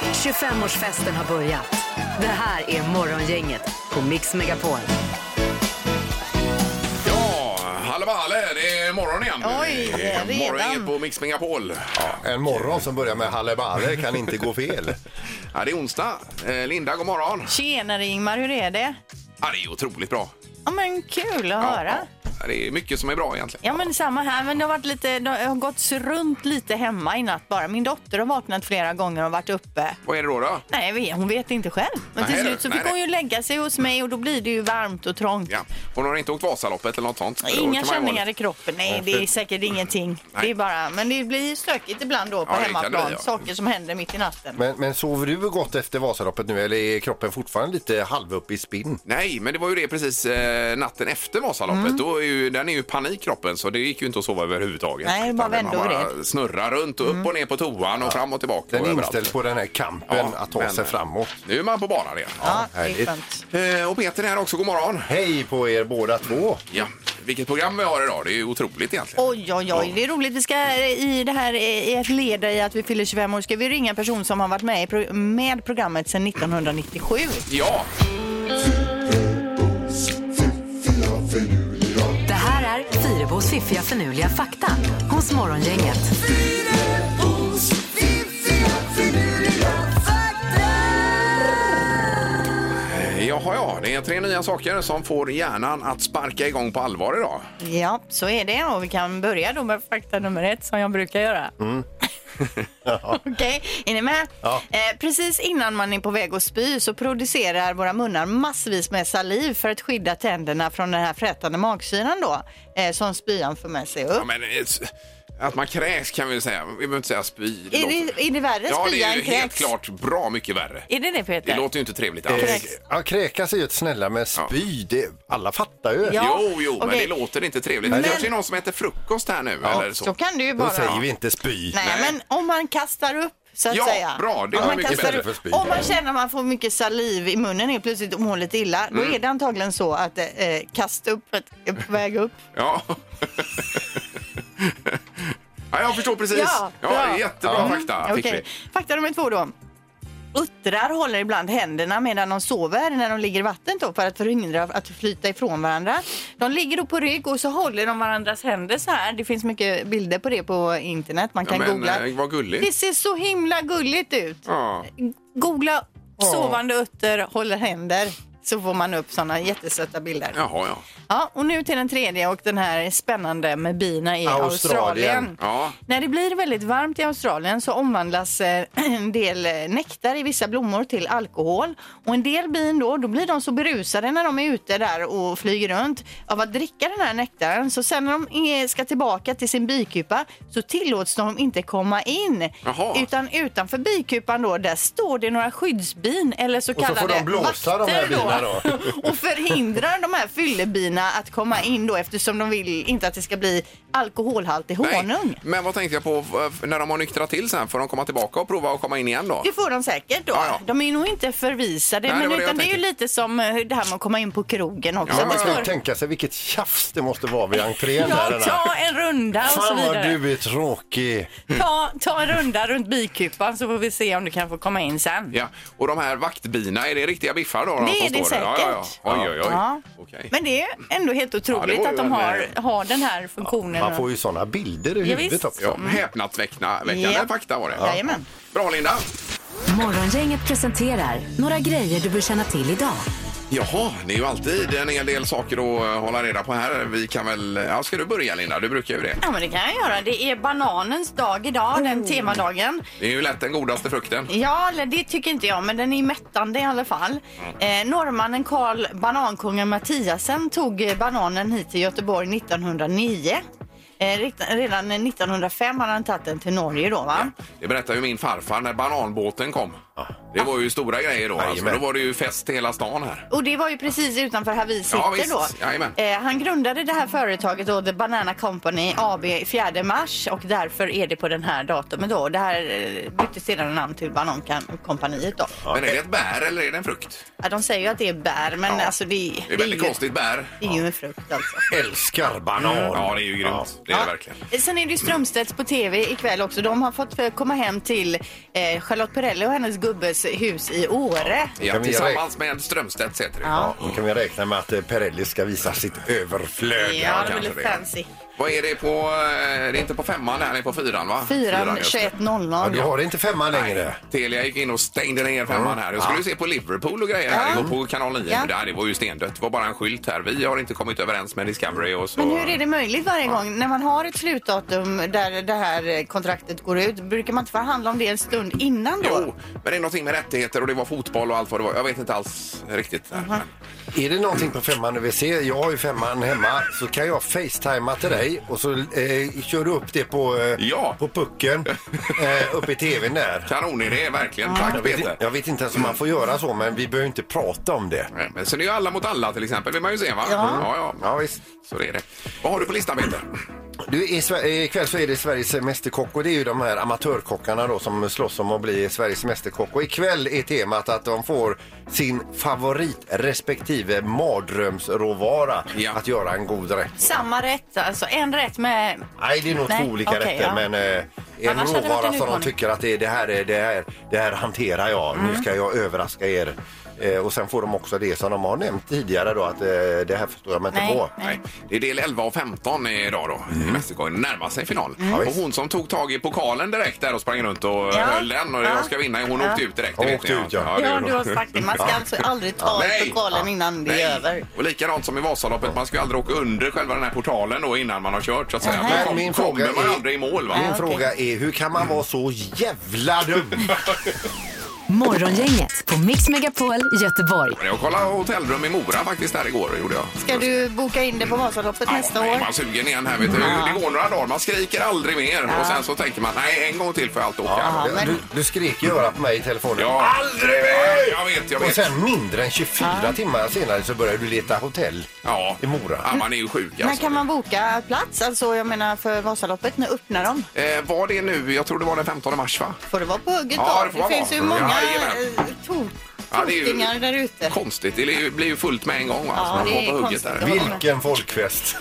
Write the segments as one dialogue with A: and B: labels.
A: 25-årsfesten har börjat. Det här är Morgongänget på Mix Megapol.
B: Ja, hallå valle, det är morgon igen.
C: Oj,
B: Det är
C: redan.
B: Morgongänget på Mix Megapol. Ja.
D: En morgon som börjar med Halle kan inte gå fel.
B: ja, det är onsdag. Eh, Linda, god morgon.
C: Tjenare Ingmar, hur är det?
B: Ja, det är otroligt bra.
C: Ja men kul att höra.
B: Ja, det är mycket som är bra egentligen.
C: Ja men samma här, men det har, varit lite, det har gått runt lite hemma i natt bara. Min dotter har vaknat flera gånger och varit uppe.
B: Vad är det då? då?
C: Nej, vi- hon vet inte själv. Men till
B: Nej,
C: slut så
B: nej,
C: fick hon
B: nej.
C: ju lägga sig hos mig och då blir det ju varmt och trångt.
B: Ja. Hon har inte åkt Vasaloppet eller något sånt? Då kan man
C: Inga
B: ju vara-
C: känningar i kroppen, nej det är säkert ingenting. Det är bara, men det blir stökigt ibland då på
B: Ja, det kan det
C: hemmaplan.
B: bli, ja.
C: Saker som händer mitt i natten.
D: Men, men sover du gott efter Vasaloppet nu eller är kroppen fortfarande lite halv upp i spinn?
B: Nej, men det var ju det precis eh, natten efter Vasaloppet.
C: Mm.
B: Då är ju, den är ju panik kroppen så det gick ju inte att sova överhuvudtaget.
C: Nej, det är bara
B: Utan
C: vända och Mm.
B: man bara snurrar runt och upp och ner på toan och fram och tillbaka.
D: Den
B: och
D: är
B: överallt.
D: inställd på den här kampen
B: Ja,
D: att ta
B: men-
D: sig framåt.
B: Nu är man på banan igen.
C: ja, det är
D: härligt.
C: skönt.
B: Eh, och Peter är här också, god morgon.
D: Hej på er båda två!
B: Ja, vilket program vi har idag. Det är ju otroligt egentligen.
C: Oj, oj, oj. Det är roligt. Vi ska eh, i det här eh, i ett led i att vi fyller 25 år ska vi ringa en person som har varit med i pro- med programmet sedan 1997.
B: Ja,
A: Det här är Fyrebos fiffiga förnuliga fakta hos Morgongänget.
B: eh, jaha ja. Det är tre nya saker som får hjärnan att sparka igång på allvar idag.
C: Ja, så är det. Och vi kan börja då med fakta nummer ett som jag brukar göra. Okej, är ni med?
D: Ja.
C: Eh, precis innan man är på väg att spy så producerar våra munnar massvis med saliv för att skydda tänderna från den här frätande magsyran då, eh, som spyan för med sig upp.
B: Ja, men, eh, s- att man kräks kan vi väl säga. Vi behöver inte säga spy.
C: är,
B: låter-
C: det, är det värre
B: Ja, det
C: spya
B: är ju
C: än
B: helt
C: kräks?
B: klart bra mycket värre.
C: Är det det Peter?
B: Det låter ju inte trevligt alls.
D: Eh,
C: Kräks.
D: Ja, kräkas är ju ett snälla men spy, det, alla fattar ju.
C: Ja.
B: Jo, jo, men
C: okej.
B: det låter inte trevligt.
C: Men-
B: Det kanske är någon som äter frukost här nu eller så.
C: Så kan du ju
D: Då
C: bara...
D: säger vi inte spy.
C: Nej,
B: Nej.
C: men om man kastar upp så att
B: Ja,
C: säga.
B: bra, det
C: om
B: var
C: man
B: mycket
C: kastar
B: bättre
C: upp-
D: för spy.
C: Om man känner att man får mycket saliv i munnen helt plötsligt och mår lite illa,
B: Mm.
C: då är det antagligen så att eh, kastuppet är på väg upp.
B: Ja. ja, jag förstår precis. Ja,
C: Ja, bra.
B: jättebra fakta fick
C: Okej. Fakta nummer två då. Uttrar håller ibland händerna medan de sover när de ligger i vattnet då, för att förhindra att flyta ifrån varandra. De ligger då på rygg och så håller de varandras händer så här. Det finns mycket bilder på det på internet. Man
B: vi. Ja,
C: kan
B: men
C: googla.
B: eh, vad
C: Det
B: gulligt.
C: ser så himla gulligt ut.
B: Ja.
C: Googla sovande utter håller händer så får man upp sådana jättesöta bilder. Ja.
B: Jaha, ja.
C: och nu till den tredje och den här är spännande med bina i Australien.
D: Australien.
B: Ja.
C: När det blir väldigt varmt i Australien så omvandlas eh, en del eh, nektar i vissa blommor till alkohol. Och en del bin då, då blir de så berusade när de är ute där och flyger runt av att dricka den här nektaren. Så sen när de eh, ska tillbaka till sin bikupa så tillåts de inte komma in.
B: Jaha.
C: Utan utanför bikupan då, där står det några skyddsbin eller så
D: Och så
C: kallade
D: får de blåsa de här
C: vakter
D: bina då.
C: och förhindrar de här fyllebina att komma in då eftersom de vill inte att det ska bli alkoholhaltig honung.
B: Men vad tänkte jag på eh, när de har nyktrat till sen? Får de komma tillbaka och prova att komma in igen då?
C: Det får de säkert då.
B: Ja, ja.
C: De är nog inte förvisade.
B: Nej, det
C: men
B: var det jag
C: utan det är ju
B: tänkte.
C: lite som eh, det här med att komma in på krogen också.
B: Ja,
D: Ja,
C: Det
D: man kan ju
C: står,
D: tänka sig vilket tjafs det måste vara vid entrén. där,
C: ja,
D: den här.
C: ta en runda och så
D: Fan vad
C: vidare.
D: du är tråkig.
C: Ta, ta en runda runt bikupan så får vi se om du kan få komma in sen.
B: Ja. Och de här vaktbina, är det riktiga biffar då? de
C: Det
B: som
C: är det
B: står där? Ja, ja, ja. Oj, oj, oj.
C: Ja.
B: Okej.
C: Men det är ändå helt otroligt
B: var ju
C: att de
B: en,
C: har, har den här funktionen.
D: Man får ju sådana bilder i
C: Ja,
D: huvudet
C: visst.
D: också.
B: Ja, häpnadsväckande
C: Ja.
B: fakta var det.
C: Jajamän.
B: Bra Linda!
A: Morgongänget presenterar några grejer du bör känna till idag.
B: Jaha, det är ju alltid en hel del saker att eh, hålla reda på här. Vi kan väl... Ja, ska du börja Linda? Du brukar ju det.
C: Ja, men det kan jag göra. Det är bananens dag idag, den temadagen.
B: Det är ju lätt den godaste frukten.
C: Ja, eller det tycker inte jag, men den är mättande i alla fall. Eh, norrmannen Karl Banankungen Mattiasen tog eh, bananen hit till Göteborg 1909. Eh, rikt- redan eh, 1905 hade han tagit den till Norge då, va?
B: Det berättar ju min farfar när bananbåten kom. Det var ju stora grejer då. Alltså,
D: Jajamän.
B: då var det ju fest i hela stan här.
C: Och det var ju precis utanför här vi sitter
B: Ja, visst.
C: då.
B: Jajamän.
C: Eh, han grundade det här företaget då, The Banana Company AB 4 mars och därför är det på den här datumet då. Det här eh, bytte sedan namn till Banankompaniet då.
B: Men är det ett bär eller är det en frukt?
C: Ja, de säger ju att det är bär, men
B: Ja.
C: alltså det,
B: Det är
C: ju-
B: väldigt konstigt bär.
C: Det är ju en frukt alltså.
D: Älskar banan.
B: Ja, det är ju grymt. Det är det verkligen.
C: Sen är det ju Strömstedts på tv ikväll också. De har fått eh, komma hem till eh, Charlotte Perrelli och hennes gubbes hus i Åre.
B: Ja,
D: Kan vi
B: tillsammans med Strömstedt heter det.
C: Ja.
D: Då kan vi räkna med att eh, Perrelli ska visa sitt
C: Ja,
D: överflöd.
C: det
B: kanske
C: blir lite
B: det.
C: fancy.
B: Vad är det på, eh, det är inte på femman här, det är på fyran va?
C: Fyran
B: just det.
C: 21.00.
D: Ja, du har inte femma längre.
B: Telia gick in och stängde ner femman här. Jag skulle ju se på Liverpool och grejer här igår på kanal 9.
C: Ja.
B: Men det, här, det var ju stendött. Det var bara en skylt här. Vi har inte kommit överens med Discovery och så.
C: Men hur är det möjligt varje gång när man har ett slutdatum där det här eh, kontraktet går ut? Brukar man inte förhandla om det en stund innan då?
B: Jo, men det är någonting med rättigheter och det var fotboll och allt vad det var. Jag vet inte alls riktigt. där.
D: Är det någonting på femman du vill se? Jag har ju femman hemma. Så kan jag facetima till dig och så eh, kör du upp det på, eh,
B: Ja.
D: på pucken eh, uppe i tvn där.
B: Kanonidé, verkligen. Tack
D: Jag vet,
B: Peter.
D: jag vet inte ens om man får göra så, men vi behöver inte prata om det.
B: Nej, Men sen är ju alla mot alla till exempel, vill man ju se va?
C: Ja.
B: ja, ja.
D: Ja, visst.
B: Så det är det. Vad har du på listan Peter?
D: Du, i Sver- ikväll så är det Sveriges mästerkock och det är ju de här amatörkockarna då som slåss om att bli Sveriges mästerkock. Och ikväll är temat att de får sin favorit respektive mardrömsråvara
B: Ja.
D: att göra en god rätt.
C: Samma rätt, alltså en rätt med...
D: Nej, det är nog
C: Nej,
D: två olika
C: okej,
D: rätter
C: ja.
D: men eh, en
C: Annars hade det varit
D: råvara
C: en
D: som de
C: utmaning.
D: tycker att det, är- det, här, är- det, här, det här hanterar jag, nu
C: Mm.
D: ska jag överraska er. Eh, och sen får de också det som de har nämnt tidigare då att eh, det här förstår jag mig inte
C: Nej,
D: på.
C: nej.
B: Nej. Det är del 11 och 15 idag då.
D: Mm.
B: i Mästerkocken närmar sig final. Och hon som tog tag i pokalen direkt där och sprang runt och höll den och
C: Ja.
B: jag ska vinna. Hon
C: Ja.
B: åkte ut direkt. det
D: Hon
B: vet
D: åkte
B: ni,
D: ut, ja.
B: det
C: Ja,
B: gjorde
C: du
B: hon.
C: har sagt det. Man ska alltså aldrig ta
B: Nej.
C: ut pokalen innan det
B: Nej.
C: är över.
B: Och likadant som i Vasaloppet, man ska ju aldrig åka under själva den här portalen då innan man har kört så att säga.
C: Nej.
B: Då
D: Men min
B: kom-
D: fråga
B: kommer man
D: är-
B: aldrig i mål va?
D: Min fråga är hur kan man vara så jävla dum?
A: Morgongänget på Mix Megapol Göteborg.
B: Jag kollade hotellrum i Mora faktiskt där igår. Gjorde jag.
C: Ska du boka in det på Vasaloppet nästa
B: nej,
C: år?
B: Man suger igen här. Vet du. Det går några dagar, man skriker aldrig mer och sen så tänker man nej, en gång till får jag allt åka.
C: Ja, men-
D: Du, du skrek ju örat på mig i telefonen.
B: Ja. Aldrig mer! Jag vet, jag
D: Och
B: vet.
D: sen mindre än 24 timmar senare så började du leta hotell
B: ja.
D: i Mora.
B: Ja, man är ju sjuk
C: När
B: alltså.
C: kan man boka plats? Alltså jag menar för Vasaloppet, när öppnar de?
B: Eh, var det nu? Jag tror det var den 15 mars va?
C: Får det vara på hugget
B: Ja, det
C: då?
B: får
C: Det,
B: man
C: finns
B: vara.
C: ju många
B: Jajamän.
C: eh, to-
B: Ja, det är ju-
C: totingar där ute.
B: Konstigt, det blir ju- blir ju fullt med en gång va?
C: Ja,
B: så man
C: det
B: får
C: är
B: på hugget
C: konstigt.
B: där.
C: Vi-
D: Vilken folkfest!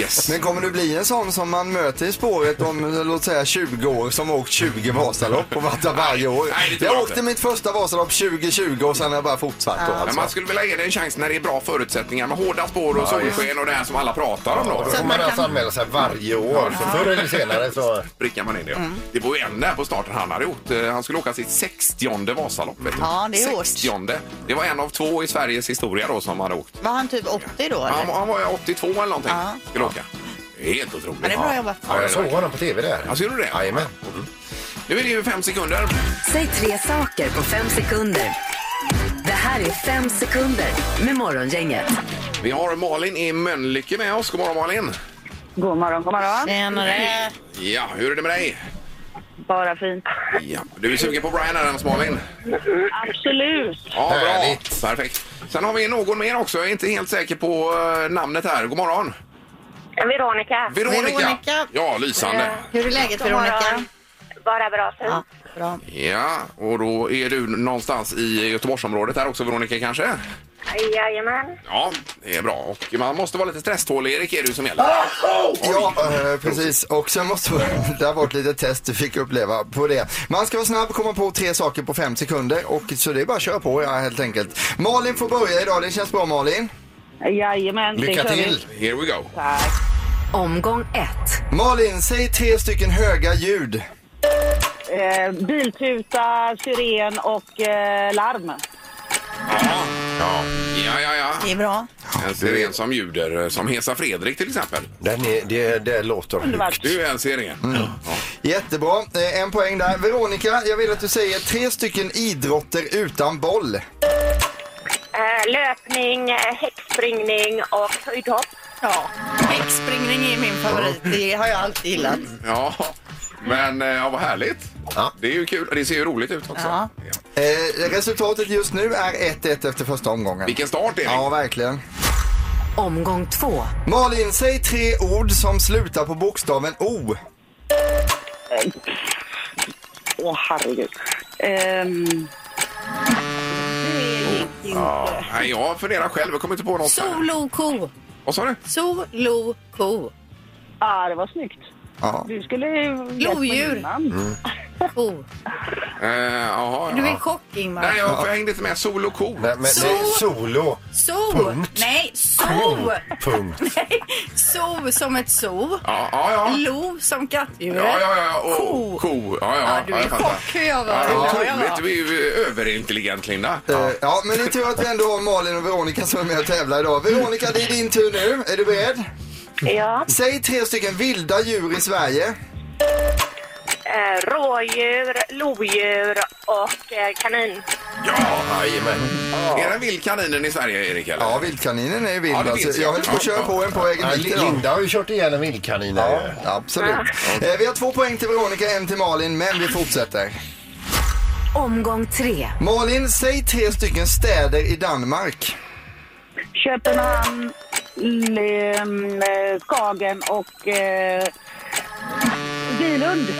B: Yes.
E: Men kommer du bli en sån som man möter i spåret om låt säga 20 år som har åkt 20 Vasalopp och varit där varje år?
B: Nej, det tror jag
E: jag
B: inte.
E: åkte mitt första Vasalopp 2020 och sen har jag bara fortsatt då
B: Men
E: alltså.
B: man skulle vilja ge det en chans när det är bra förutsättningar med hårda spår och solsken och det här som alla pratar om då.
D: Då
B: Så
D: får man alltså anmäla sig varje år. Så förr eller senare så...
B: prickar man in det.
C: Mm.
B: Det var ju en där på starten han hade gjort. Eh, Han skulle åka sitt 60 Vasalopp. vet du.
C: Ja, det är hårt.
B: 60:e. Det var en av två i Sveriges historia då som hade åkt.
C: Var han typ 80 då?
B: Han,
C: Eller?
B: han var ju 82 eller någonting.
C: Ja.
B: Skulle åka. Det är Helt otroligt.
C: Ja, det är bra jobbat.
D: Ja, jag såg honom på tv där.
B: Ja, ser Alltså, du det?
D: Jajamän.
B: Nu är det ju fem sekunder.
A: Säg tre saker på fem sekunder. Det här är fem sekunder med Morgongänget.
B: Vi har Malin i Mölnlycke med oss. God morgon Malin.
F: God morgon, god morgon.
C: Eh, Tjenare!
B: Ja, hur är det med dig?
F: Bara fint.
B: Ja, du är sugen på Brian Adams Malin?
F: Absolut.
B: Ja, bra.
D: Härligt.
B: Perfekt. Sen har vi någon mer också. Jag är inte helt säker på eh, namnet här. God morgon.
F: Veronica.
B: Veronica.
C: Veronica.
B: Ja, lysande.
C: Hur är läget Veronica?
F: Bara bra. Fint.
C: Ja, bra.
B: Ja, och då är du någonstans i Göteborgsområdet här också Veronica kanske?
F: Jajamän.
B: Ja, det är bra. Och man måste vara lite stresstålig Erik, är du som gäller.
E: Ja, eh, precis. Och sen måste vi- det här var ett litet test du fick uppleva på det. Man ska vara snabb och komma på tre saker på fem sekunder. Och, så det är bara att köra på ja, helt enkelt. Malin får börja idag. Det känns bra Malin.
F: Jajamän. det
D: Lycka
F: kör vi.
D: till!
B: Here we go.
F: Tack.
A: Omgång ett.
E: Malin, säg tre stycken höga ljud.
F: Eh, biltuta, syren och eh, larm.
B: Ja, ja, ja. ja.
C: Det är bra.
B: En siren som ljuder, eh, som Hesa Fredrik till exempel.
D: Den är, det, det låter
F: Underbart.
D: högt.
B: Du är en siren. Ja.
E: Jättebra. Eh, En poäng där. Veronica, jag vill att du säger tre stycken idrotter utan boll.
F: Eh, löpning, eh, häckspringning och höjdhopp.
C: Ja. Häckspringning är min favorit. Det har jag alltid gillat.
B: Ja, men eh, ja, vad härligt.
D: Ja.
B: Det är ju kul. Det ser ju roligt ut också.
C: Ja.
B: Ja.
E: Eh, resultatet just nu är 1-1 efter första omgången.
B: Vilken start, Erik.
E: Ja, verkligen.
A: Omgång två.
E: Malin, säg tre ord som slutar på bokstaven O.
F: Åh, herregud. Ehm, det gick inte.
B: Nej, jag funderar själv. Jag kommer inte på något. här.
C: Soloko.
B: Vad sa du?
C: Soloko.
F: Ja, det var snyggt.
E: Ja.
F: Du skulle ju...
C: Lodjur.
F: Mm.
G: ko.
B: Eh, jaha,
C: Du är
B: ja.
C: kock, Ingmar.
B: Nej, jag hängde inte med. Sol och ko.
D: Nej, men,
G: Så-
D: nej, solo.
G: So!
D: Punkt.
C: Nej, so!
D: Punkt.
C: Nej, so som ett so.
B: Ja, ja, ja.
C: Lo som kattdjur.
B: Ja, ja, ja. Och,
C: Ko.
B: ko. Ja, ja.
C: Ja, du
B: ja,
C: är
B: jag fattar.
G: kock, hur jag var.
B: Ja,
G: Ja,
B: otroligt.
G: jag var.
B: Du är ju överintelligent, Linda.
D: Eh,
E: Ja. Eh, ja, men det är tur att vi ändå har Malin och Veronica som är med och tävlar idag. Veronica, det är din tur nu. Är du beredd?
F: Ja.
E: Säg tre stycken vilda djur i Sverige.
F: Eh, rådjur, lodjur och eh, kanin.
B: Ja, jajamän. Är den vild kaninen i Sverige, Erik? Eller?
E: Ja, vildkaninen är ju vild.
B: Ja, det
E: alltså.
B: finns ju.
E: Jag höll på att
B: Ja,
E: köra
B: ja.
E: på en på egen
D: Ja,
E: vikt idag.
D: Linda har ju kört ihjäl en vildkanin. här
E: Ja,
D: ju.
E: absolut. Eh, Vi har två poäng till Veronica, en till Malin, men vi fortsätter.
A: Omgång tre.
E: Malin, säg tre stycken städer i Danmark.
F: Köpenhamn, Lem, eh, Skagen och eh, Bylund.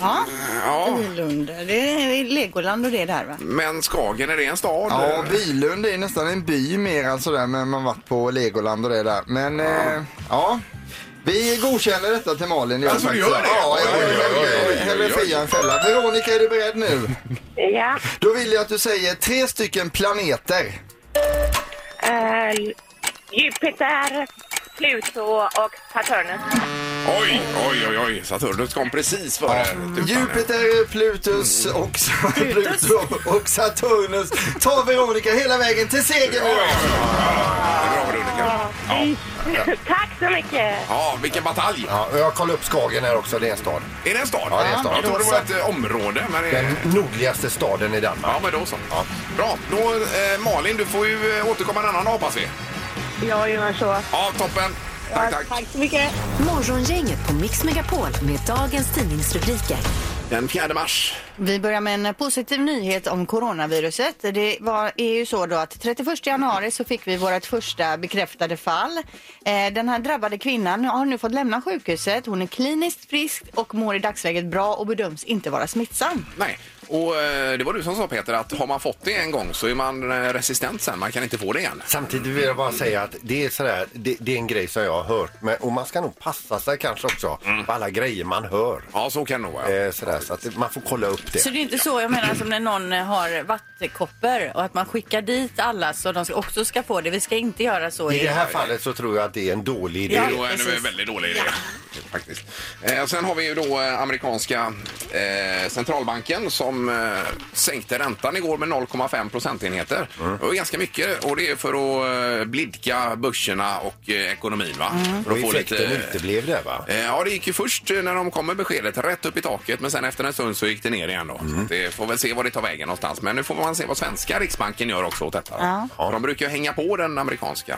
C: Ja,
B: Ja,
C: Ilund. Det är Legoland och det där, va?
B: men Skagen, är det en stad?
E: Ja, Bylund är ju nästan en by mer alltså där, men man varit på Legoland och det där. Men eh, ja, vi godkänner detta till Malin.
B: Alltså,
E: faktiskt.
B: gör det?
E: Ja,
B: Oj, oj, oj, oj, oj, oj.
E: hellre fria än fälla. Veronica, är du beredd nu?
F: Ja.
E: Då vill jag att du säger tre stycken planeter.
F: Eh, Jupiter, Pluto och Saturnus.
B: Oj, oj, oj, oj. Saturnus kom precis före. Typ. tutan.
E: Jupiter, Plutus och, Pluto och Saturnus tar Veronica hela vägen till seger.
B: Oj, oj, oj. Bra, Veronica. Ja.
F: Tack så mycket!
B: ja, vilken batalj.
D: Ja, och jag kollar upp Skagen här också. Det är en stad.
B: Är det en stad?
D: Ja, det är en stad.
B: Jag trodde det var ett eh, område. Men det...
D: Den nordligaste staden i Danmark.
B: Ja, men då så. Bra. Då, eh, Malin, du får ju eh, återkomma en annan dag, hoppas vi.
F: Jag gör så.
B: Ja, toppen. Tack, tack.
F: Tack så mycket!
A: Morgongänget på Mix Megapol med dagens tidningsrubriker.
B: Den 4 mars.
C: Vi börjar med en positiv nyhet om coronaviruset. Det var, är ju så då att 31 januari så fick vi vårt första bekräftade fall. Eh, den här drabbade kvinnan har nu fått lämna sjukhuset. Hon är kliniskt frisk och mår i dagsläget bra och bedöms inte vara smittsam.
B: Nej, och eh, det var du som sa Peter att har man fått det en gång så är man eh, resistent sen. Man kan inte få det igen.
D: Samtidigt vill jag bara säga att det är, sådär, det, det är en grej som jag har hört. Men, och man ska nog passa sig kanske också
E: Mm.
D: på alla grejer man hör.
B: Ja, så kan det nog vara.
D: Eh, sådär, så att det- man får kolla upp det.
G: Så det är inte så jag menar som när någon eh, har vattkoppor och att man skickar dit alla så de ska- också ska få det. Vi ska inte göra så.
D: I det här fallet så tror jag att det är en dålig idé.
B: Det är då en
G: precis.
B: väldigt dålig idé. Faktiskt. Eh, sen har vi ju då eh, amerikanska eh, centralbanken som eh, sänkte räntan igår med 0,5 procentenheter.
D: Mm.
B: Det var ganska mycket och det är för att eh, blidka börserna och eh, ekonomin. Va? För
D: Och
B: att få
D: Mm. effekten
B: lite,
D: uteblev där va?
B: Eh, Ja, det gick ju först eh, när de kom med beskedet rätt upp i taket men sen efter en stund så gick det ner igen då. Så att Det får väl se var det tar vägen någonstans. Men nu får man se vad svenska Riksbanken gör också åt detta.
C: Ja.
B: För De brukar ju hänga på den amerikanska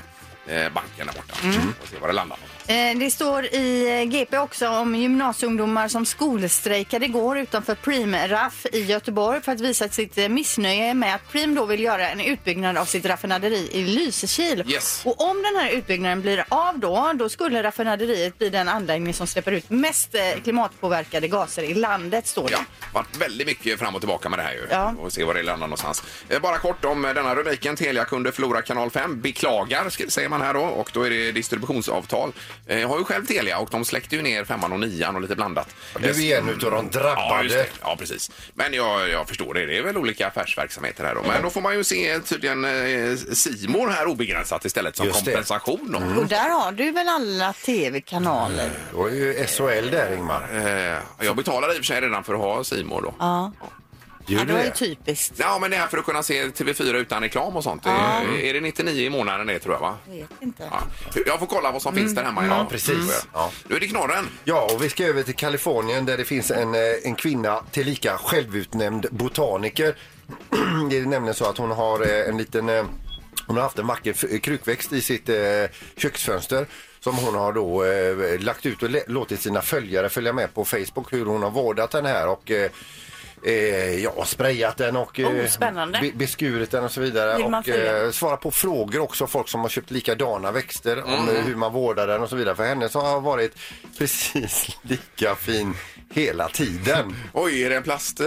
B: eh, banken där borta
C: Mm.
B: och se var det landar.
C: Eh, Det står i eh, GP också om gymnasieungdomar som skolstrejkade igår utanför Preem-Raff i Göteborg för att visa sitt eh, missnöje med att Preem då vill göra en utbyggnad av sitt raffinaderi i Lysekil.
B: Yes.
C: Och om den här utbyggnaden blir av då, då skulle raffinaderiet bli den anläggning som släpper ut mest eh, klimatpåverkade gaser i landet, står det.
B: Ja, varit väldigt mycket fram och tillbaka med det här ju.
C: Ja.
B: Och se var det landar någonstans. Eh, Bara kort om eh, denna rubriken. Telia kunde förlora kanal 5. Beklagar, sk- säger man här då. Och då är det distributionsavtal. Eh, Jag har ju själv Telia och de släckte ju ner femman och nian och lite blandat. Eh,
D: Du är en utav de
B: Ja, just det.
D: drabbade.
B: ja precis. Men jag, jag förstår det. Det är väl olika affärsverksamheter här då. Men då får man ju se tydligen eh, Simor här obegränsat istället som
D: Just det. Mm.
B: kompensation då.
C: Och där har du väl alla tv-kanaler?
D: Det var ju SHL där Ingmar.
B: Eh, jag betalar i och för sig redan för att ha Simor då. Ja.
C: Ja,
D: Gjorde
C: det var ju
D: det?
C: typiskt.
B: men det här för att kunna se TV4 utan reklam och sånt. Är, är det 99 i månaden det tror jag va?
C: Jag vet inte.
B: Ja. Jag får kolla vad som finns där hemma idag.
D: Ja, precis. Mm. Ja.
B: Nu är det knorren.
D: Ja, och vi ska över till Kalifornien där det finns en, eh, en kvinna, tillika självutnämnd botaniker. Det är nämligen så att hon har eh, en liten, eh, hon har haft en vacker f- krukväxt i sitt eh, köksfönster som hon har då eh, lagt ut och lä- låtit sina följare följa med på Facebook hur hon har vårdat den här och eh, Eh, ja, sprayat den och eh,
G: Oh, spännande.
D: be- beskurit den och så vidare.
G: Vill man
D: och
G: följa?
D: eh, svara på frågor också, folk som har köpt likadana växter om eh, hur man vårdar den och så vidare. För henne så har varit precis lika fin
H: hela tiden.
B: Oj, är det en plast? eh?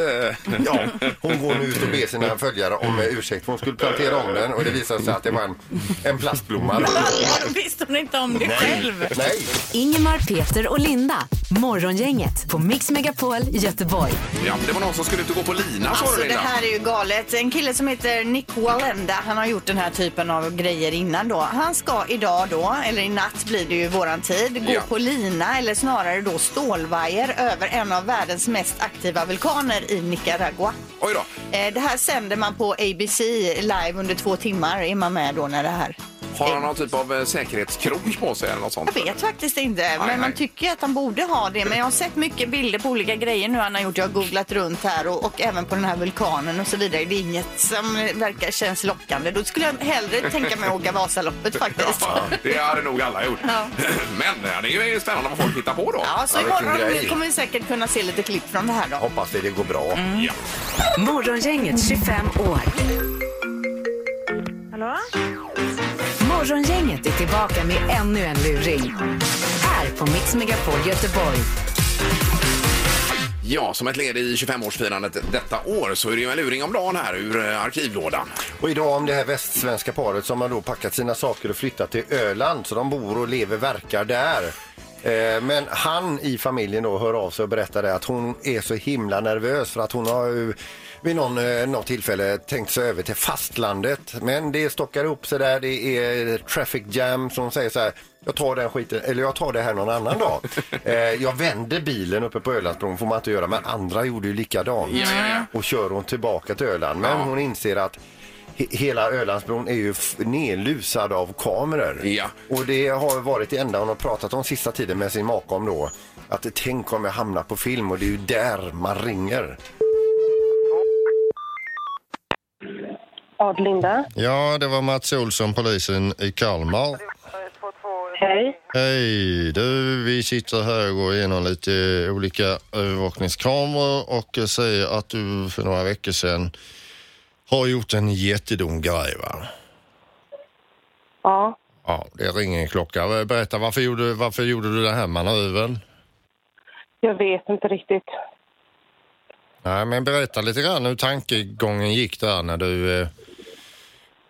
H: Ja, hon går nu ut och ber sina följare om eh, ursäkt. för Hon skulle plantera om den och det visade sig att det var en, en plastblomma.
I: Då visste hon inte om det själv.
H: Nej,
A: Ingemar, Peter och Linda. Morgongänget på Mix Megapol Göteborg.
B: Ja, det var någon som skulle ut och gå på lina sa
C: Alltså
B: du
C: det
B: Linda.
C: här är ju galet. En kille som heter Nick Wallenda, han har gjort den här typen av grejer innan då. Han ska idag då, eller i natt blir det ju våran tid, gå
B: Ja.
C: på lina eller snarare då stålvajer över en av världens mest aktiva vulkaner i Nicaragua.
B: Oj då.
C: Eh, Det här sänder man på ABC live under två timmar. Är man med då när det här...
B: Har han någon typ av eh, säkerhetskrok på sig eller något sånt?
C: Jag vet faktiskt inte, men
B: nej.
C: man tycker att han borde ha det. Men jag har sett mycket bilder på olika grejer nu han har gjort. Jag har googlat runt här och, och även på den här vulkanen och så vidare. Det är inget som eh, verkar känns lockande. Då skulle jag hellre tänka mig att åka Vasaloppet faktiskt.
B: Ja, det hade nog alla gjort.
C: Ja.
B: Men eh, det är ju spännande vad folk hittar på då.
C: Ja, så
H: Ja, vilken
C: imorgon
H: grej.
C: kommer vi säkert kunna se lite klipp från det här då.
H: hoppas det, det går bra.
B: Ja.
A: Morgongänget 25 år.
F: Hallå?
A: Morgongänget är tillbaka med ännu en luring. Här på Mix Megapol Göteborg.
B: ja, som ett led i 25-årsfirandet detta år så är det ju en luring om dagen här ur eh, arkivlådan.
H: Och idag om det här västsvenska paret som har då packat sina saker och flyttat till Öland. Så de bor och lever, verkar där. Eh, Men han i familjen då hör av sig och berättar det att hon är så himla nervös för att hon har ju vid någon, eh, något tillfälle tänkt sig över till fastlandet. Men det stockar ihop sig där, det är traffic jam som säger så här. Jag tar den skiten, eller jag tar det här någon annan dag. Eh, jag vände bilen uppe på Ölandsbron, får man inte göra, men andra gjorde ju likadant.
B: Ja, ja, ja.
H: Och kör hon tillbaka till Öland. Men
B: Ja.
H: hon inser att he- hela Ölandsbron är ju f- nedlusad av kameror.
B: Ja.
H: Och det har varit det enda hon har pratat om sista tiden med sin make om då. Att tänk om jag hamnar på film och det är ju där man ringer.
F: Ad Linda.
D: Ja, det var Mats Olsson, polisen i Kalmar.
F: Hej.
D: Hej, du, vi sitter här och går igenom lite olika övervakningskameror och ser att du för några veckor sedan har gjort en jättedum grej, va?
F: Ja.
D: Ja, det ringer en klocka. Berätta, varför gjorde, varför gjorde du den här manövern?
F: Jag vet inte riktigt.
D: Nej, men berätta lite grann hur tankegången gick där när du... eh,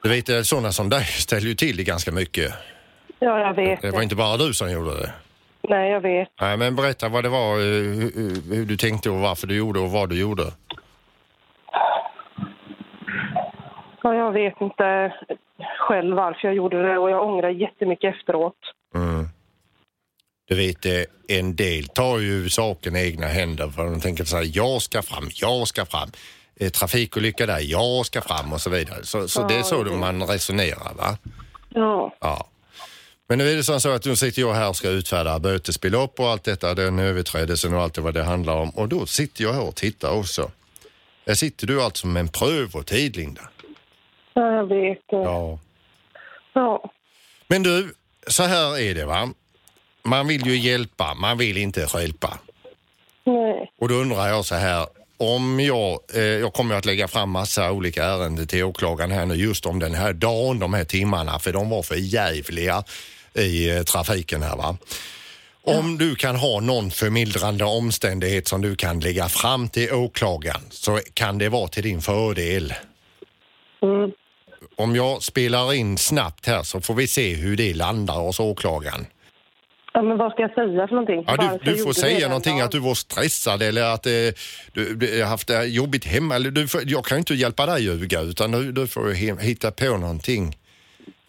D: Du vet, sådana som dig ställer ju till det ganska mycket.
F: Ja, jag vet.
D: Det var inte bara du som gjorde det.
F: Nej, jag vet.
D: Nej, men berätta vad det var, eh, hur, hur- hur du tänkte och varför du gjorde och vad du gjorde.
F: Ja, jag vet inte själv varför jag gjorde det och jag ångrar jättemycket efteråt.
D: Du vet, eh, en del tar ju saken i egna händer för de tänker så här, jag ska fram, jag ska fram. Eh, Trafikolycka där, jag ska fram och så vidare. Så, så det är så man resonerar, va?
F: Ja.
D: Ja. Men nu är det som så att nu sitter jag här och ska utfärda bötesbelopp och allt detta, den överträdelsen och allt det vad det handlar om. Och då sitter jag här och tittar också. Där sitter du alltså med en prövotid, Linda.
F: ja, jag vet. Ja.
D: Ja.
F: Ja.
D: Men du, så här är det va. Man vill ju hjälpa, man vill inte stjälpa.
F: Nej.
D: Och då undrar jag så här, om jag, eh, jag kommer att lägga fram massa olika ärenden till åklagaren här nu just om den här dagen, de här timmarna, för de var för jävliga i eh, trafiken här va. Om du kan ha någon förmildrande omständighet som du kan lägga fram till åklagaren så kan det vara till din fördel.
F: Mm.
D: Om jag spelar in snabbt här så får vi se hur det landar hos åklagaren.
F: Ja, men vad ska jag säga för någonting?
D: Ja,
F: Varför
D: du, du
F: gjorde
D: får
F: det
D: säga
F: den
D: någonting
F: dagen?
D: att du var stressad eller att eh, du, du har haft det jobbigt hemma. Eller du, får- jag kan ju inte hjälpa dig ljuga utan du, du får he- hitta på någonting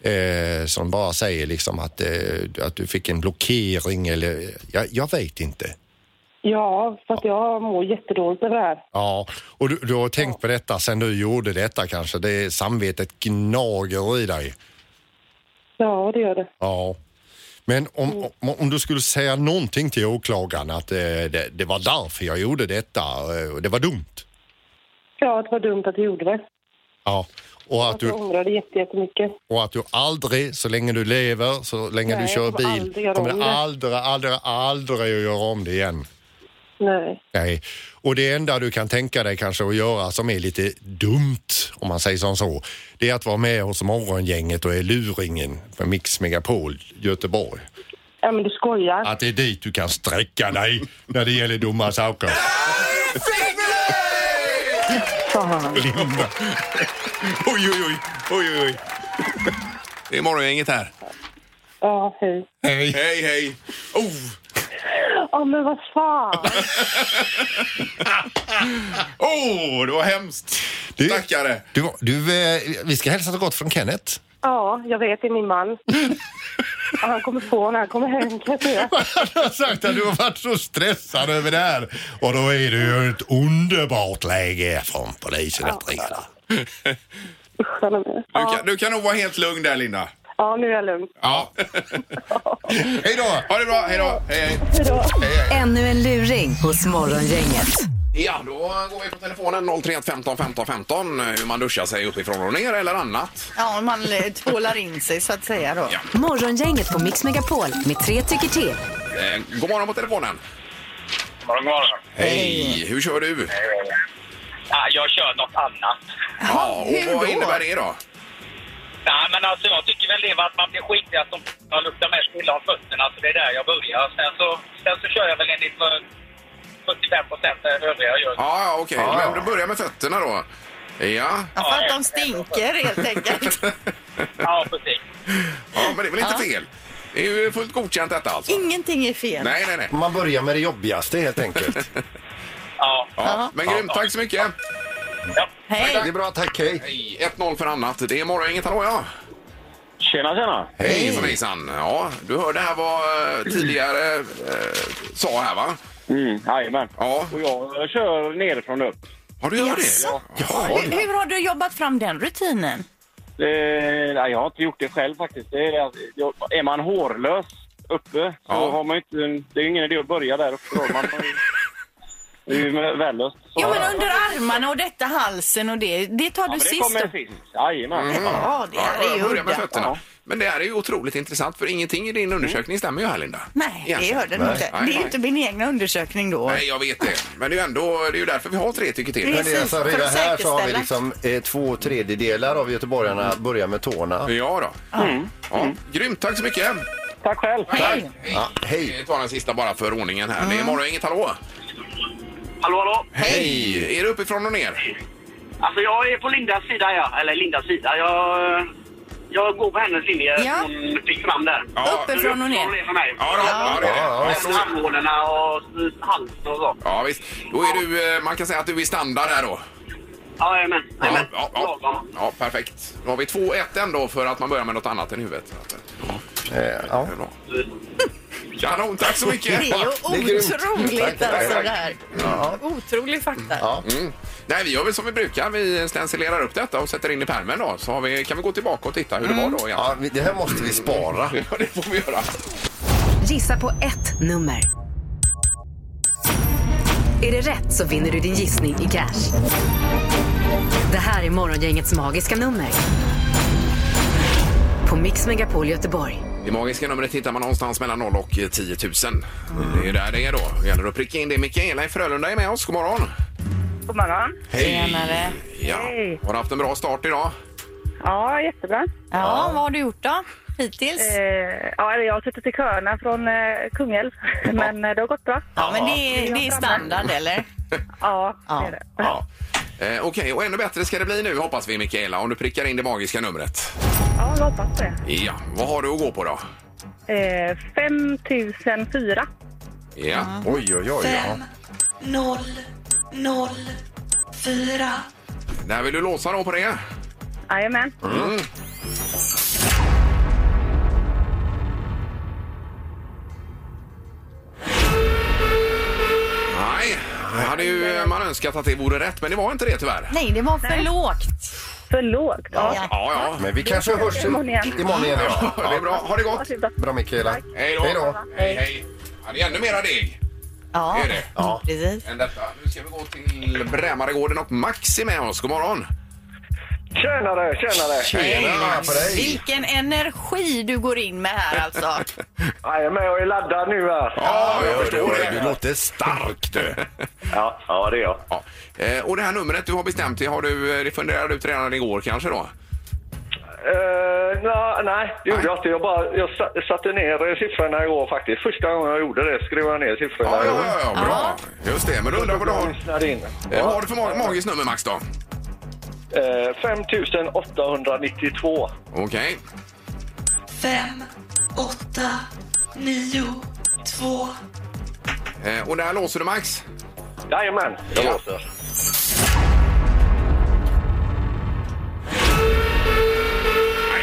D: eh, som bara säger liksom att, eh, att du fick en blockering eller jag, jag vet inte.
F: Ja, för att jag mår jättedåligt över det här.
D: Ja, och du, du har tänkt på detta sen du gjorde detta kanske. Det samvetet gnager i dig.
F: Ja, det gör det.
D: Ja. Men om,
F: Mm.
D: om, om du skulle säga någonting till åklagaren att eh, det, det var därför jag gjorde detta eh, och det var dumt.
F: Ja, det var dumt att jag gjorde det.
D: Ja. Och att,
F: Att jag
D: du,
F: ångrar det jätte- jättemycket.
D: och att du aldrig, så länge du lever, så länge
F: Nej,
D: du kör
F: jag kommer aldrig
D: bil,
F: göra
D: kommer
F: om
D: du
F: det.
D: aldrig, aldrig, aldrig att göra om det igen.
F: Nej.
D: Nej. Och det enda du kan tänka dig kanske att göra som är lite dumt, om man säger som så, det är att vara med hos morgongänget och är luringen för Mix Megapol Göteborg.
F: Ja, Ja, men du skojar.
J: Att det är dit du kan sträcka dig när det gäller dumma saker.
F: Fan.
J: Linda.
B: Oj, oj, oj. oj, oj. Det är morgongänget här.
F: Ja, hej.
J: Hej.
B: Hej, hej. Oh.
F: Ja, men vad fan.
B: oh, det var hemskt.
J: Du-
B: Stackare.
J: Du, var- du, eh, vi ska hälsa så gott från Kenneth.
F: Ja, jag vet. Det är min man. Ja, han kommer på när han kommer hem, kan jag säga.
J: Han har sagt att du har varit så stressad över det här. Och då är det ju ett underbart läge från polisen att ringa dig.
F: Usch, han är med.
B: Du kan, du kan nog vara helt lugn där, Linda.
F: Ja, nu är jag lugn.
J: Ja. Hej då!
B: Ha det bra. Hej då. Hej, hej.
A: Ännu en luring hos Morgongänget.
B: Ja, då går vi på telefonen 031 15 15 15. Hur man duschar sig uppifrån och ner eller annat.
C: Ja, man eh, tvålar in sig så att säga då.
B: Ja.
A: Morgongänget på Mix Megapol med tre tycker till.
B: Eh, god morgon på telefonen.
K: Morgon, morgon.
B: Hej. Hur kör du?
K: Ja, jag kör något annat.
B: Ja,
C: hur
B: och vad
C: då?
B: innebär det då?
K: Nej, men alltså jag tycker väl det var att man blir skitigast om man luktar mest illa om fötterna, så det är där jag börjar. Sen så, sen så kör jag väl enligt vad 75 procent övriga jag gör.
B: Ja, ja okej. Men du börjar med fötterna då. Ja.
C: Ja, för att de stinker helt enkelt.
K: Ja, precis.
B: ja, men det är väl inte fel? Det är ju fullt godkänt detta alltså.
C: Ingenting är fel.
B: Nej, nej, nej.
D: Man börjar med det jobbigaste helt enkelt.
K: Ja.
B: Ja, men grymt. Tack så mycket.
K: ja.
D: Det
C: Hej.
D: är bra, tack, hej.
B: Hej. 1-0 för annat. Det är morgongänget. Hallå, ja.
K: Tjena, tjena.
B: Hej hejsan, hejsan. Ja, du hörde här vad eh, tidigare eh, sa här va?
K: Mm, jajamän.
B: Ja.
K: Och jag kör nerifrån upp.
B: Har du gjort det?
C: Jaså?
B: Ja.
C: Hur, hur har du jobbat fram den rutinen?
K: Eh, nej, jag har inte gjort det själv faktiskt. Det är, det att jag, är man hårlös uppe så
B: Ja.
K: har man ju inte... Det är ju ingen idé att börja där uppe. då. Man får ju- Det är ju vällöst. Så-
C: Jo, men under armarna och detta halsen och det, det tar du
K: Ja, men det
C: sist.
K: kommer
C: då. Mm.
K: sist. Jajamän.
C: Ja, det här
B: Ja, Mm.
C: är
B: jag
C: ju
B: börjar med
C: udda.
B: fötterna.
K: Ja.
B: Men det här är ju otroligt intressant för ingenting i din undersökning stämmer ju här Linda.
C: Nej, det
B: Egentligen.
C: gör den
D: Nej.
C: inte.
B: Nej,
C: Det är
B: nej.
C: ju inte min egna undersökning då.
B: Nej, jag vet det. Men det är ju ändå, det är ju därför vi har tre tycker till.
C: Det-
D: Men det är alltså,
C: Precis, för
D: redan
C: att
D: här så har vi
C: säkerställa.
D: liksom eh, två tredjedelar av göteborgarna börjar med tårna.
B: Ja då. Mm. Ja, grymt, tack så mycket.
K: Tack själv.
C: Hej.
D: Ja, hej.
B: Vi tar den sista bara för ordningen här. Det är morgongänget, hallå.
K: Hallå, hallå.
B: Hej! Är det uppifrån och ner?
K: Alltså, jag är på Lindas sida, ja. Eller Lindas sida. Jag, jag går på hennes linje
C: Ja.
K: hon fick fram där.
B: Ja.
C: Uppifrån och ner.
K: Det är för mig.
B: Ja, då, ja. det är det.
D: Ja, ja,
B: Ja,
K: Även Armhålorna och halsen och så.
B: Ja, visst. Då är du, eh, man kan säga att du är standard här då.
K: Ja, Jajamän.
B: Ja,
K: Jajamän.
B: ja, ja.
K: Lagom.
B: ja, perfekt. Då har vi 2-1 ändå för att man börjar med något annat än huvudet. Så att,
D: Eh, Ja.
B: det är bra. Kanon, tack så mycket!
C: Det är ju
D: grymt.
C: otroligt
D: Tack,
C: alltså
B: tack.
C: det här. Otrolig fakta.
B: Mm. Nej, vi gör väl som vi brukar. Vi stencilerar upp detta och sätter in i pärmen då. Så har vi, kan vi gå tillbaka och titta hur det var då egentligen.
D: Ja, vi- det här måste vi spara.
B: Ja, det får vi göra.
A: Gissa på ett nummer. Är det rätt så vinner du din gissning i cash. Det här är Morgongängets magiska nummer. På Mix Megapol Göteborg.
B: Det magiska numret hittar man någonstans mellan 0 och 10 000. Det är där det är då. Det gäller att pricka in det. Mikaela i Frölunda är med oss. God morgon!
F: God morgon.
C: Tjenare.
B: Ja.
F: Hej.
B: Har du haft en bra start idag?
F: Ja, jättebra.
G: Ja, vad har du gjort då? Hittills?
F: Eh, ja, eller jag har suttit i köerna från eh, Kungälv, men eh, det har gått bra.
C: Ja, men det är, det är standard eller?
F: Ja, det är det.
B: Ja. Eh, Okej, och ännu bättre ska det bli nu hoppas vi Mikaela om du prickar in det magiska numret.
F: Ja, jag hoppas det.
B: Ja, vad har du att gå på då?
F: Eh, 5004.
B: Ja,
D: Oj, oj, oj. Ja.
B: när vill du låsa då på det?
F: Jajamän.
B: Nej, jag hade ju eh, man önskat att det vore rätt men det var inte det tyvärr.
C: Nej, det var för lågt.
F: För lågt. Ja,
B: Ja, ja.
D: Men vi kanske hörs i-
F: Imorgon igen.
D: imorgon igen. Ja.
B: Det är bra. Ha det
F: ja
B: gott!
F: typ då.
D: Bra Mikaela.
B: Hej då!
D: Hej då.
B: Hej, hej. Ja, det är ännu mera deg
C: Ja,
B: är det.
D: Ja.
C: precis.
B: än detta. Nu ska vi gå till Brämaregården och Maxi med oss. God morgon!
K: Tjenare, tjenare.
D: Tjena på dig.
C: Vilken energi du går in med här alltså.
K: Jajamän, jag är laddad nu här.
B: Ja, jag
D: Du låter stark du.
K: Ja, ja det är jag.
B: Ja. Eh, Och det här numret du har bestämt dig, har du, eh, det funderade ut redan igår kanske då?
L: Eh, nej, nej, det gjorde jag inte. Jag, bara, jag sa- satte ner eh, siffrorna igår faktiskt. Första gången jag gjorde det skrev jag ner siffrorna
B: Ja, ja,
L: igår.
B: ja, ja, bra. Just det, men då undrar jag vad du
L: Jag
B: har.
L: lyssnade in.
B: Eh, Vad har du för ma- magiskt nummer, Max, då?
L: Eh, 5892.
B: Okej.
M: Fem, åtta, nio, två.
B: Eh, och där låser du, Max?
L: Jajamän, jag
B: Ja.
L: låser.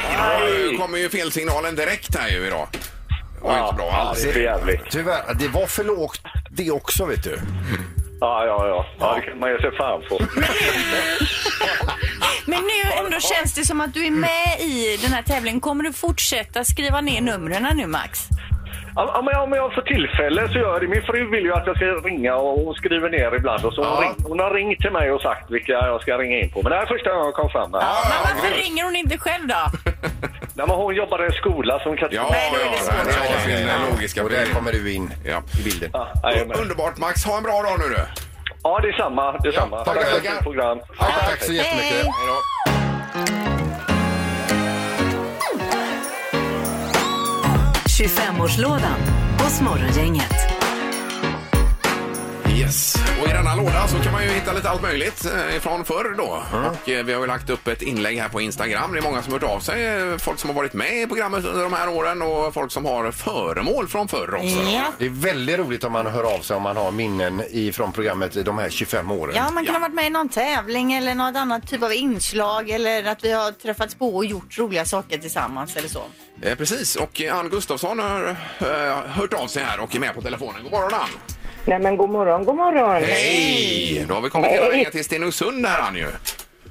B: Nej, Nu Eh, kommer ju felsignalen direkt här ju idag. Det var inte bra
L: ja,
B: alls.
L: det är för jävligt.
D: Tyvärr, det var för lågt det också vet du.
L: Ja, ja, ja. ja det kan man ge sig fan på.
G: Men nu ändå känns det som att du är med i den här tävlingen. Kommer du fortsätta skriva ner numren nu Max?
L: Ja, ja, men om jag får tillfälle så gör jag det. Min fru vill ju att jag ska ringa och hon skriver ner ibland. Och så hon, ring, hon har ringt till mig och sagt vilka jag ska ringa in på. Men det här är första gången jag kom fram med.
G: Men varför ringer hon inte själv då?
L: Nej, men hon jobbar i en skola som kan...
B: Ja,
G: Nej, då är det
B: ja,
G: svårt.
B: där har vi sin eh, logiska
D: Och där
B: fundering.
D: kommer du in
B: Ja.
D: i bilden.
L: Ja, jajamän.
B: Underbart, Max. Ha en bra dag nu du.
L: ja, det är samma. Det är samma.
B: tackar,
L: Tack för ett
B: tackar.
L: fint program.
D: Ja, tack så jättemycket.
B: Hej då.
A: Morgongänget. 25-årslådan hos Morgongänget.
B: Yes. Och i denna låda så kan man ju hitta lite allt möjligt eh, från förr då. Och eh, vi har ju lagt upp ett inlägg här på Instagram. Det är många som har hört av sig. eh, Folk som har varit med i programmet under de här åren och folk som har föremål från förr också.
G: Ja.
D: Det är väldigt roligt om man hör av sig om man har minnen ifrån programmet i de här 25 åren.
C: Ja, man kan ha varit med i någon tävling eller något annat typ av inslag eller att vi har träffats på och gjort roliga saker tillsammans eller så.
B: Eh, precis. Och eh, Ann Gustafsson har eh, hört av sig här och är med på telefonen. God morgon Ann!
F: Nej men god morgon, god morgon.
B: Hej! Då har vi kommit hela vägen till Stenungsund här Ann ju.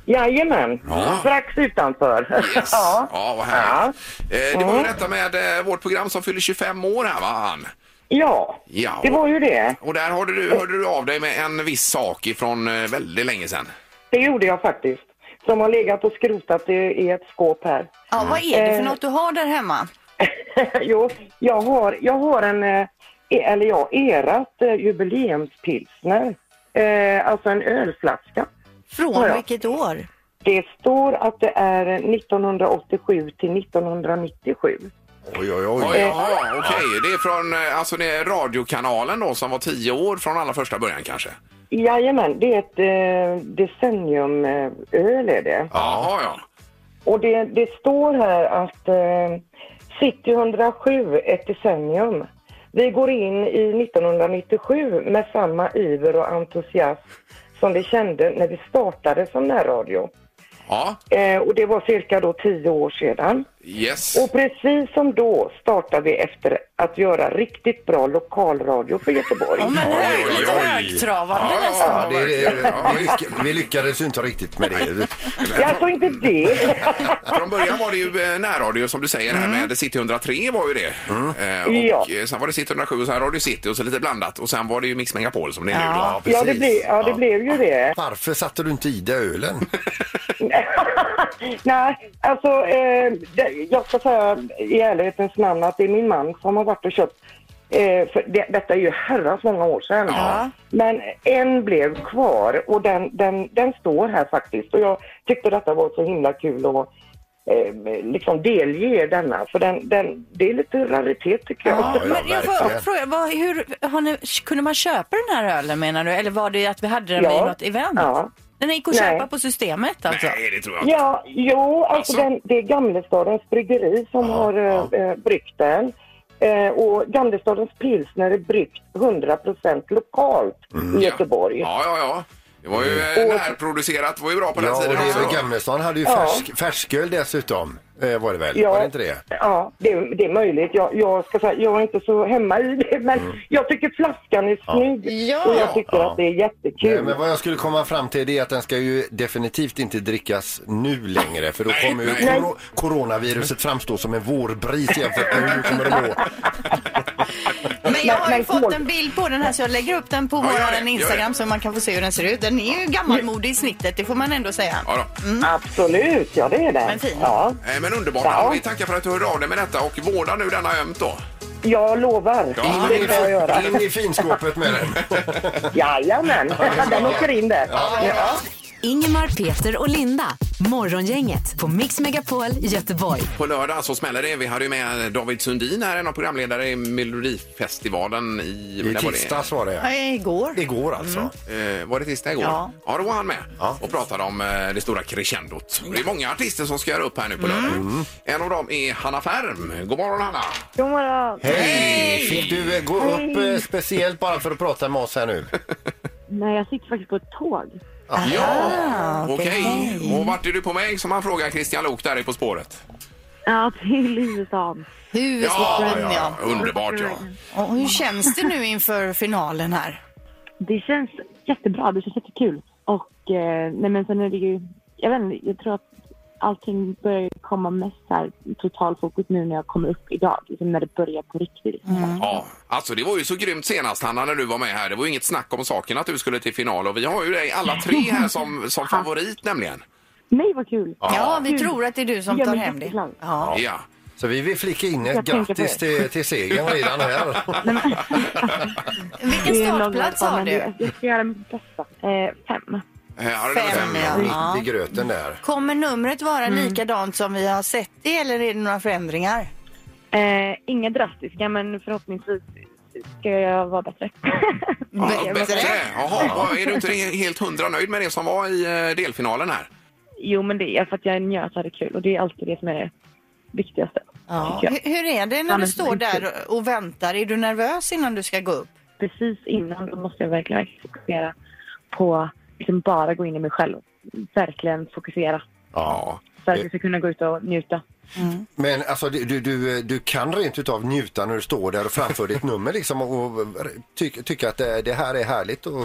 F: Jajamän,
B: Ja.
F: strax utanför.
B: Yes. Ja. vad härligt. Eh, det var
F: Mm.
B: ju detta med eh, vårt program som fyller 25 år här va Ann?
F: Ja,
B: Ja.
F: det var ju det.
B: Och där hörde du, hörde du av dig med en viss sak ifrån eh, väldigt länge sedan.
F: Det gjorde jag faktiskt. Som har legat och skrotat i, i ett skåp här.
C: Ja, vad är det för
F: Eh.
C: något du har där hemma?
F: jo, jag har, jag har en, eh, e- eller jag, erat eh, jubileumspilsner. Eh, alltså en ölflaska.
C: Från
F: Ja, ja.
C: vilket år?
F: Det står att det är 1987 till 1997.
D: Oj, oj, oj.
B: Oj, jaha, okej. Det är från eh, alltså det är radiokanalen då som var 10 år från allra första början kanske?
F: Jajamän, det är ett eh, decenniumöl är det.
B: Jaha, ja.
F: Och det, det står här att eh, City 107, ett decennium. Vi går in i 1997 med samma iver och entusiasm som vi kände när vi startade som närradio.
B: Ja,
F: Eh, och det var cirka då tio år sedan.
B: yes.
F: Och precis som då startade vi efter att göra riktigt bra lokalradio för Göteborg.
G: Ja, men det
B: Oj, oj,
G: är lite
B: oj.
G: högtravande
B: Ja,
G: nästan.
D: Ja, det är,
B: Ja,
D: vi, lyck- vi lyckades ju inte riktigt med det.
F: Ja, alltså inte det.
B: Från början var det ju eh, närradio som du säger
D: Mm.
B: här med City 103 var ju det. Eh,
F: Ja.
B: och eh, sen var det City 107 och sen Radio City och så lite blandat och sen var det ju Mix Megapol som det är nu då.
D: Ja, precis.
F: ja, det, blev, ja, det blev ju det.
D: Varför satte du inte i dig ölen?
F: Nej, alltså eh, det, jag ska säga i ärlighetens namn att det är min man som har varit och köpt Eh, för det, detta är ju herrans många år sedan.
B: Ja.
F: Men en blev kvar och den, den, den står här faktiskt. Och jag tyckte detta var så himla kul att eh, liksom delge er denna. För den, den, det är lite raritet tycker jag.
G: Ja,
D: ja,
G: men jag får
D: verkligen.
G: fråga, vad, hur, har ni, kunde man köpa den här ölen menar du? Eller var det att vi hade den
F: Ja.
G: i något event?
F: Ja.
G: Den gick att
F: Nej.
G: köpa på systemet alltså?
B: Nej, det tror jag inte.
F: Ja, jo, alltså,
B: Alltså?
F: Den, det är Gamlestadens bryggeri som har eh, eh, bryggt den. Eh, och Gamlestadens pilsner är bryggt 100% lokalt
E: Mm,
F: i Göteborg.
B: Ja, ja, ja. Det var ju
F: Mm.
B: eh, närproducerat, var ju bra på den
D: Ja, och
B: tiden
D: det,
B: också. då.
D: ja. Gamlestan hade ju
F: Ja.
D: färsk, färsköl dessutom. Eh, var det väl?
F: Ja.
D: Var det inte det?
F: Ja, det, det är möjligt. Jag, jag ska säga, jag är inte så hemma i det, men
B: Mm.
F: jag tycker flaskan är snygg.
C: Ja.
F: Och jag tycker
D: Ja.
F: att det är jättekul.
D: Nej, men vad jag skulle komma fram till det är att den ska ju definitivt inte drickas nu längre för då
B: Nej,
D: kommer ju
B: nej.
D: kor- coronaviruset framstå som en vårbris jämfört med hur kommer det gå.
C: Men jag har ju
F: men
C: fått
F: kol-
C: en bild på den här så jag lägger upp den på
B: Ja, gör det,
C: vår
B: gör
C: Instagram
B: det.
C: så man kan få se hur den ser ut. Den är ju gammalmodig i snittet, det får man ändå säga.
B: Ja, då.
F: Mm. Absolut, ja det är den.
C: Men fin.
F: Ja,
B: Eh, Men underbart.
F: Ja.
B: Vi tackar för att du hörde av dig med detta och vårda nu denna ömt då.
F: jag lovar.
B: Ja.
F: Det ska jag göra.
D: In i finskåpet med den.
F: Jajamän, den åker in där. Ja.
A: Ingemar, Peter och Linda. Morgongänget på Mix Megapol Göteborg.
B: På lördag så smäller det. Vi hade ju med David Sundin här, en av programledare i Melodifestivalen i...
D: I
B: när var det?
D: tisdags var det.
C: Nej, igår.
D: Igår alltså.
F: Mm.
B: Eh, var det tisdag igår?
C: Ja.
B: ja, då var han med och pratade om eh, det stora crescendot. Det är många artister som ska göra upp här nu på lördag. En av dem är Hanna Färm. God morgon Hanna!
F: God morgon.
D: Hej! Fick du eh, gå upp eh, speciellt bara för att prata med oss här nu?
F: Nej, jag sitter faktiskt på ett tåg.
B: Ja, okej. Och vart är du på väg som han frågar Christian Lok där i På spåret?
F: Ja, till huvudstaden.
C: Huvudstaden, ja.
B: Underbart ja. Mm.
C: Och hur känns det nu inför finalen här?
F: Det känns jättebra. Det känns jättekul. Och eh, nej, men sen är det ju... Jag vet inte, jag tror att allting börjar komma mest här totalfokus nu när jag kommer upp idag. Liksom när det börjar på riktigt.
B: Ja, alltså det var ju så grymt senast Hanna när du var med här. Det var ju inget snack om saken att du skulle till final och vi har ju dig alla tre här som, som favorit nämligen.
F: Nej, vad kul!
B: Ja,
C: Ja,
F: Mm.
C: vi tror att det är du som
F: Jag
C: tar
F: blir
C: hem det.
F: jätteglad.
C: Ja.
B: Ja.
D: Så vi vill flicka in ett
F: Jag tänker på
D: grattis
F: det.
D: till, till segern redan här.
C: Vilken
F: Det är en lång
C: startplats
F: resa,
C: har
F: men
C: du?
F: det- Jag ska göra mitt bästa. Eh, fem.
B: Eh, har du
C: Fem,
B: fem, ja.
C: ja.
D: Mitt i gröten där.
C: Kommer numret vara
F: Mm.
C: likadant som vi har sett det eller är det några förändringar?
F: Eh, inga drastiska, men förhoppningsvis ska jag vara bättre.
B: Ja, bättre. Jaha, vad- är du inte helt hundra nöjd med det som var i eh, delfinalen här?
F: Jo, men det är för att jag njöt och hade kul och det är alltid det som är det viktigaste.
C: Ja.
F: tycker
C: Hur, hur är det när
F: Ja,
C: du
F: men-
C: står där och väntar? Är du nervös innan du ska gå upp?
F: jag. Precis innan då måste jag verkligen verkligen fokusera på liksom bara gå in i mig själv. Verkligen fokusera
B: Ja.
F: så att jag ska kunna gå ut och njuta.
D: Men alltså du, du- du, du kan rent utav njuta när du står där och framför ditt nummer liksom och ty, tycka att eh, det, det här är härligt och,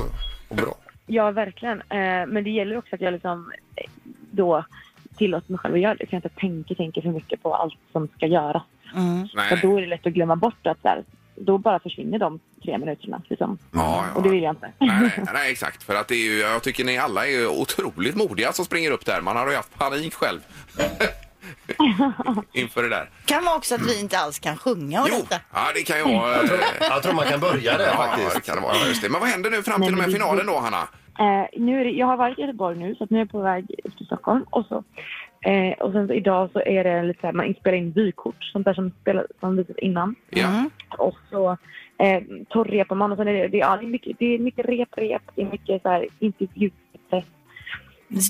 D: och bra.
F: Ja, verkligen. Eh, men det gäller också att jag liksom eh, då tillåter mig själv att göra det. Så jag inte tänker, tänker för mycket på allt som ska göras.
B: Nej.
F: För då är det lätt att glömma bort att så här, då bara försvinner de tre minuterna. Liksom.
B: Ja,
F: Och det
B: ja.
F: vill jag inte.
B: Nej, nej, nej, exakt. För att det är ju, jag tycker ni alla är ju otroligt modiga som springer upp där. Man har ju haft panik själv. Inför det där.
C: Kan vara också att vi inte alls kan sjunga och
B: Jo,
C: detta.
B: ja, det kan ju vara... eh,
D: Jag tror man kan börja där
B: Ja, det
D: faktiskt.
B: kan det vara. Just det. Men vad händer nu fram till och med finalen då, Hanna?
F: Eh, nu är det, jag har varit i Göteborg nu, så att nu är jag på väg upp till Stockholm. Och, så, eh, och sen så idag så är det lite så här, man spelar in vykort, sånt där som, spelar, som visas innan.
B: Ja.
F: Och så eh, torrrepar man och sen är det, det, ja, det, är mycket, det är mycket rep, rep, det är mycket så här intervjupress.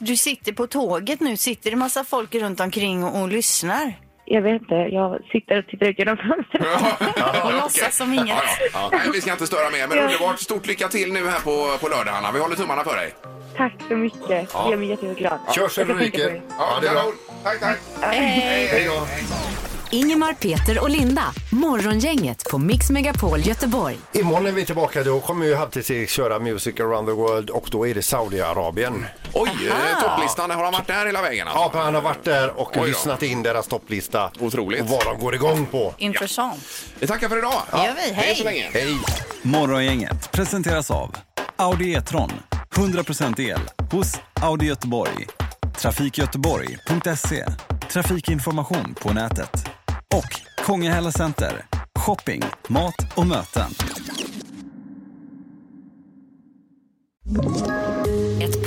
C: Du sitter på tåget nu. Sitter det massa folk runt omkring och, och lyssnar?
F: Jag vet inte, jag sitter och tittar ut genom fönstret.
B: Ja, okej.
C: låtsas som inget.
B: Ja, ja. Nej, vi ska inte störa mer, men underbart. Stort lycka till nu här på, på lördag, Hanna. Vi håller tummarna för dig.
F: Tack så mycket, det gör mig jätteglad.
D: Kör så
F: Jag
D: du
F: ska tänka på
D: ryker.
F: er.
D: Ja, det är bra.
B: Tack, tack.
A: Ingemar, Peter och Linda. Morgongänget på Mix Megapol Göteborg.
D: Imorgon är vi tillbaka. Då kommer ju Halvtids-Erik köra Music around the world och då är det Saudiarabien.
B: Oj, eh, topplistan. Har han varit där hela vägen? Alltså?
D: Ja, för han har varit där och
B: Oj då.
D: lyssnat in deras topplista.
B: Otroligt.
D: Och vad de går igång på.
N: Intressant.
B: Vi tackar för idag.
C: Det gör vi.
B: Hej så
C: Hej!
B: länge.
D: Hej!
K: Morgongänget presenteras av Audi E-tron. 100% el hos Audi Göteborg. Trafikgöteborg.se. Trafikinformation på nätet. Och Kongahälla Center. Shopping, mat och möten.
A: Ett